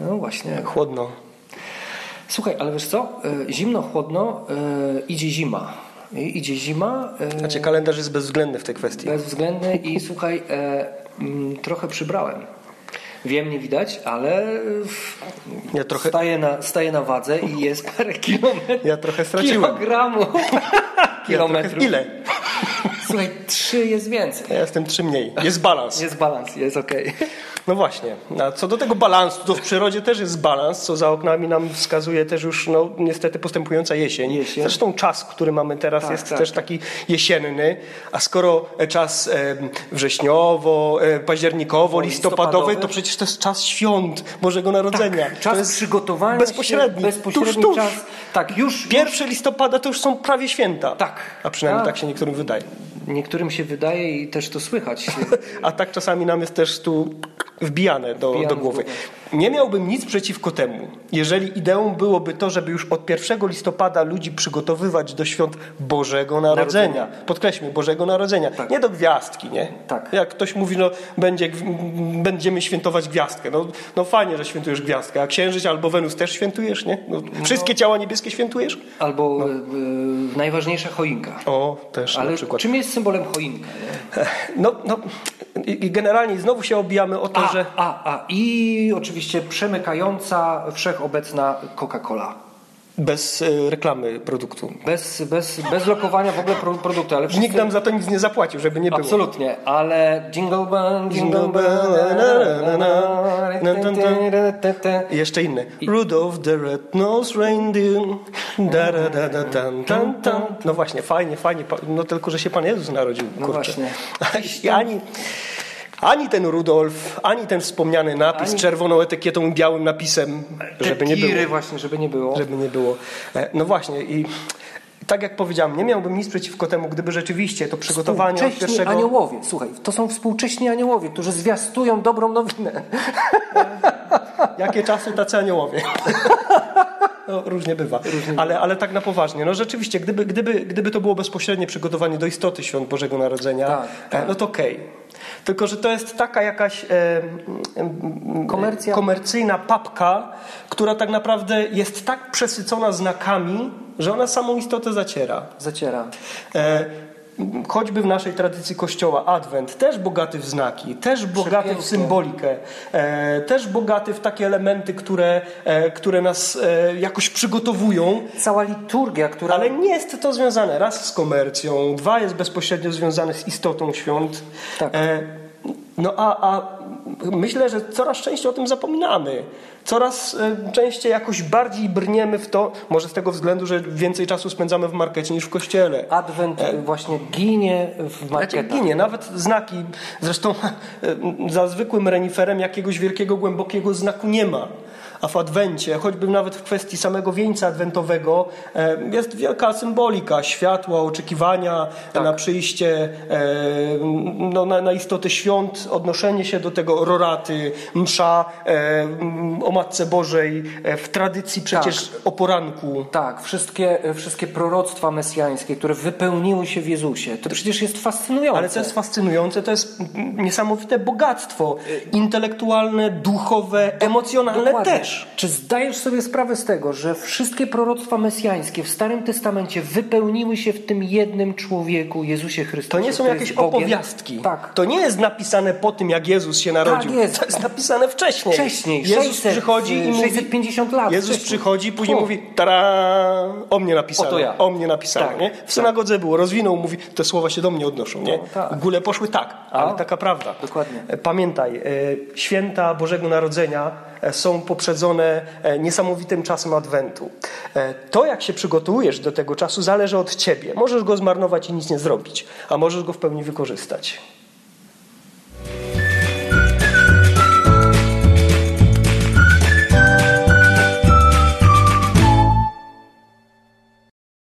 No właśnie, chłodno. Słuchaj, ale wiesz co? Y, Zimno, chłodno, y, idzie zima. I- Idzie zima. y, Znaczy kalendarz jest bezwzględny w tej kwestii. Bezwzględny i słuchaj, e, mm, trochę przybrałem. Wiem, nie widać, ale Ja trochę- staję, na, staję na wadze i jest parę kilometrów. Ja trochę straciłem. Kilogramów. Ja trochę- Kilometrów. Ile? Słuchaj, trzy jest więcej. Ja jestem trzy mniej. Jest balans. Jest balans, jest okej. No właśnie. A co do tego balansu, to w przyrodzie też jest balans, co za oknami nam wskazuje też już no, niestety postępująca jesień. Jesień. Zresztą czas, który mamy teraz Tak, jest tak, też taki jesienny, a skoro e, czas e, wrześniowo, e, październikowo, listopadowy, listopadowy. to przecież to jest czas świąt Bożego Narodzenia. Tak, Czas to jest przygotowania bezpośredni, się, bezpośredni tuż, tuż. czas. Tak, już 1 listopada to już są prawie święta. Tak. A przynajmniej Tak. tak się niektórym wydaje. niektórym się wydaje i też to słychać. A tak czasami nam jest też tu wbijane do, Wbijane do w głowy. głowę. Nie miałbym nic przeciwko temu, jeżeli ideą byłoby to, żeby już od 1 listopada ludzi przygotowywać do świąt Bożego Narodzenia. Podkreślmy, Bożego Narodzenia. Tak. Nie do gwiazdki, nie? Tak. Jak ktoś mówi, no będzie, gw- będziemy świętować gwiazdkę. No, no fajnie, że świętujesz gwiazdkę, a księżyc albo Wenus też świętujesz, nie? No, wszystkie ciała niebieskie świętujesz? Albo y, y, najważniejsza choinka. O, też na Ale przykład. czym jest symbolem choinka? Nie? No, no, i i generalnie znowu się obijamy o to, A, że... a, a i oczywiście przemykająca, wszechobecna Coca-Cola. Bez e, reklamy produktu. Bez, bez, bez lokowania w ogóle pro, produktu, ale Nikt wszyscy- nam za to nic nie zapłacił, żeby nie było. Absolutnie, ale jingle bell, jingle Jingle bell, bell, na, na, na, na, na, na, na, na. I jeszcze inne. Rudolph the Red-Nosed Reindeer. Da, da, da, da, tam, tam, tam. No właśnie, fajnie, fajnie. pa- No tylko, że się Pan Jezus narodził. No kurczę. właśnie. I ani, ani ten Rudolf, ani ten wspomniany napis z czerwoną etykietą i białym napisem, Te żeby nie tiry było. właśnie, żeby nie było. żeby nie było. E, No właśnie i tak jak powiedziałem, nie miałbym nic przeciwko temu, gdyby rzeczywiście to przygotowanie od Współcześni pierwszego... aniołowie, słuchaj, to są współcześni aniołowie, którzy zwiastują dobrą nowinę. Jakie czasy tacy aniołowie. No, różnie bywa. Ale, ale tak na poważnie. No rzeczywiście, gdyby, gdyby, gdyby to było bezpośrednie przygotowanie do istoty świąt Bożego Narodzenia, Tak, e, no to okej. Tylko, że to jest taka jakaś e, m, m, Komercja. komercyjna papka, która tak naprawdę jest tak przesycona znakami, że ona samą istotę zaciera. Zaciera. E, m, Choćby w naszej tradycji kościoła Adwent, też bogaty w znaki, też bogaty w Przepięknie. symbolikę, e, też bogaty w takie elementy, które, e, które nas e, jakoś przygotowują, Cała liturgia, która... ale nie jest to związane raz z komercją, dwa jest bezpośrednio związane z istotą świąt. Tak. E, no a, a myślę, że coraz częściej o tym zapominamy. Coraz e, częściej jakoś bardziej brniemy w to, może z tego względu, że więcej czasu spędzamy w markecie niż w kościele. Adwent y, właśnie ginie w Znaczy, marketach. E, ginie, nawet znaki. Zresztą za zwykłym reniferem jakiegoś wielkiego, głębokiego znaku nie ma. A w Adwencie, choćby nawet w kwestii samego wieńca adwentowego, e, jest wielka symbolika światła, oczekiwania na przyjście, e, no, na, na istoty świąt, odnoszenie się do tego roraty, msza e, o Matce Bożej, e, w tradycji przecież o poranku. Tak, wszystkie, wszystkie proroctwa mesjańskie, które wypełniły się w Jezusie. To przecież jest fascynujące. Ale co jest fascynujące, to jest mm, niesamowite bogactwo intelektualne, duchowe, emocjonalne Dokładnie. też. Czy zdajesz sobie sprawę z tego, że wszystkie proroctwa mesjańskie w Starym Testamencie wypełniły się w tym jednym człowieku, Jezusie To Chrystusie? nie są który jakieś jest Bogiem? opowiastki. Tak. To nie jest napisane po tym, jak Jezus się narodził. jest. To jest napisane wcześniej. Wcześniej, e, Jezus 600, przychodzi i mówi... 650 lat. Jezus wcześniej. przychodzi i później O. mówi tara, o mnie napisano, O, to ja. o mnie napisano, Tak. nie? W synagodze było, rozwinął, mówi, te słowa się do mnie odnoszą, nie? No, tak. W ogóle poszły tak, ale taka prawda. Dokładnie. Pamiętaj, e, święta Bożego Narodzenia e, są poprzedzone e, niesamowitym czasem Adwentu. E, To, jak się przygotowujesz do tego czasu, zależy od ciebie. Możesz go zmarnować i nic nie zrobić, a możesz go w pełni wykorzystać.